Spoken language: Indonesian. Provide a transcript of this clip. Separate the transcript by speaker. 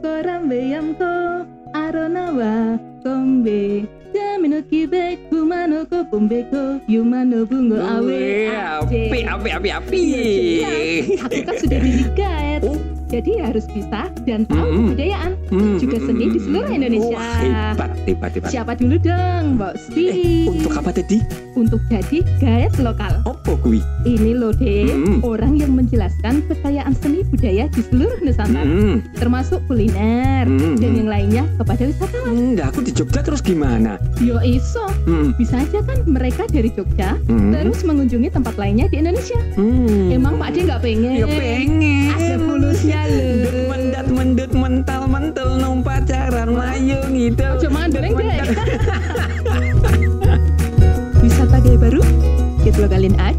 Speaker 1: こらんべやんこあろなわこんべkami no kibe kuma no ko pumbe ko yuma no bungo awe
Speaker 2: Wih,
Speaker 1: aje.
Speaker 2: api, api, api, api.
Speaker 1: Ya, aku kan sudah didik guide
Speaker 2: Oh,
Speaker 1: jadi harus bisa dan tahu
Speaker 2: Mm-mm.
Speaker 1: kebudayaan
Speaker 2: mm,
Speaker 1: juga
Speaker 2: mm,
Speaker 1: seni
Speaker 2: mm,
Speaker 1: di
Speaker 2: mm.
Speaker 1: seluruh Indonesia.
Speaker 2: Wah, hebat, hebat, hebat.
Speaker 1: siapa dulu dong Mbak Sti
Speaker 2: Eh, untuk apa tadi?
Speaker 1: untuk jadi guide lokal
Speaker 2: Opo kui?
Speaker 1: ini loh deh
Speaker 2: Mm.
Speaker 1: orang yang menjelaskan kekayaan seni budaya di seluruh Nusantara
Speaker 2: Mm,
Speaker 1: termasuk kuliner
Speaker 2: mm,
Speaker 1: dan
Speaker 2: mm.
Speaker 1: yang lainnya kepada wisatawan
Speaker 2: Hmm, lah, aku di Jogja terus gimana?
Speaker 1: yo iso
Speaker 2: Hmm,
Speaker 1: bisa aja kan mereka dari Jogja
Speaker 2: hmm,
Speaker 1: terus mengunjungi tempat lainnya di Indonesia
Speaker 2: hmm.
Speaker 1: emang Pak D nggak pengen
Speaker 2: Ya pengen.
Speaker 1: ada bulusnya
Speaker 2: Dut
Speaker 1: loh
Speaker 2: mendat mendut mental mentel nung pacaran mayu gitu.
Speaker 1: Ojo mangan
Speaker 2: Dut
Speaker 1: dendeng, Dek.
Speaker 2: mendat.
Speaker 1: wisata gaya baru kita lokalin ad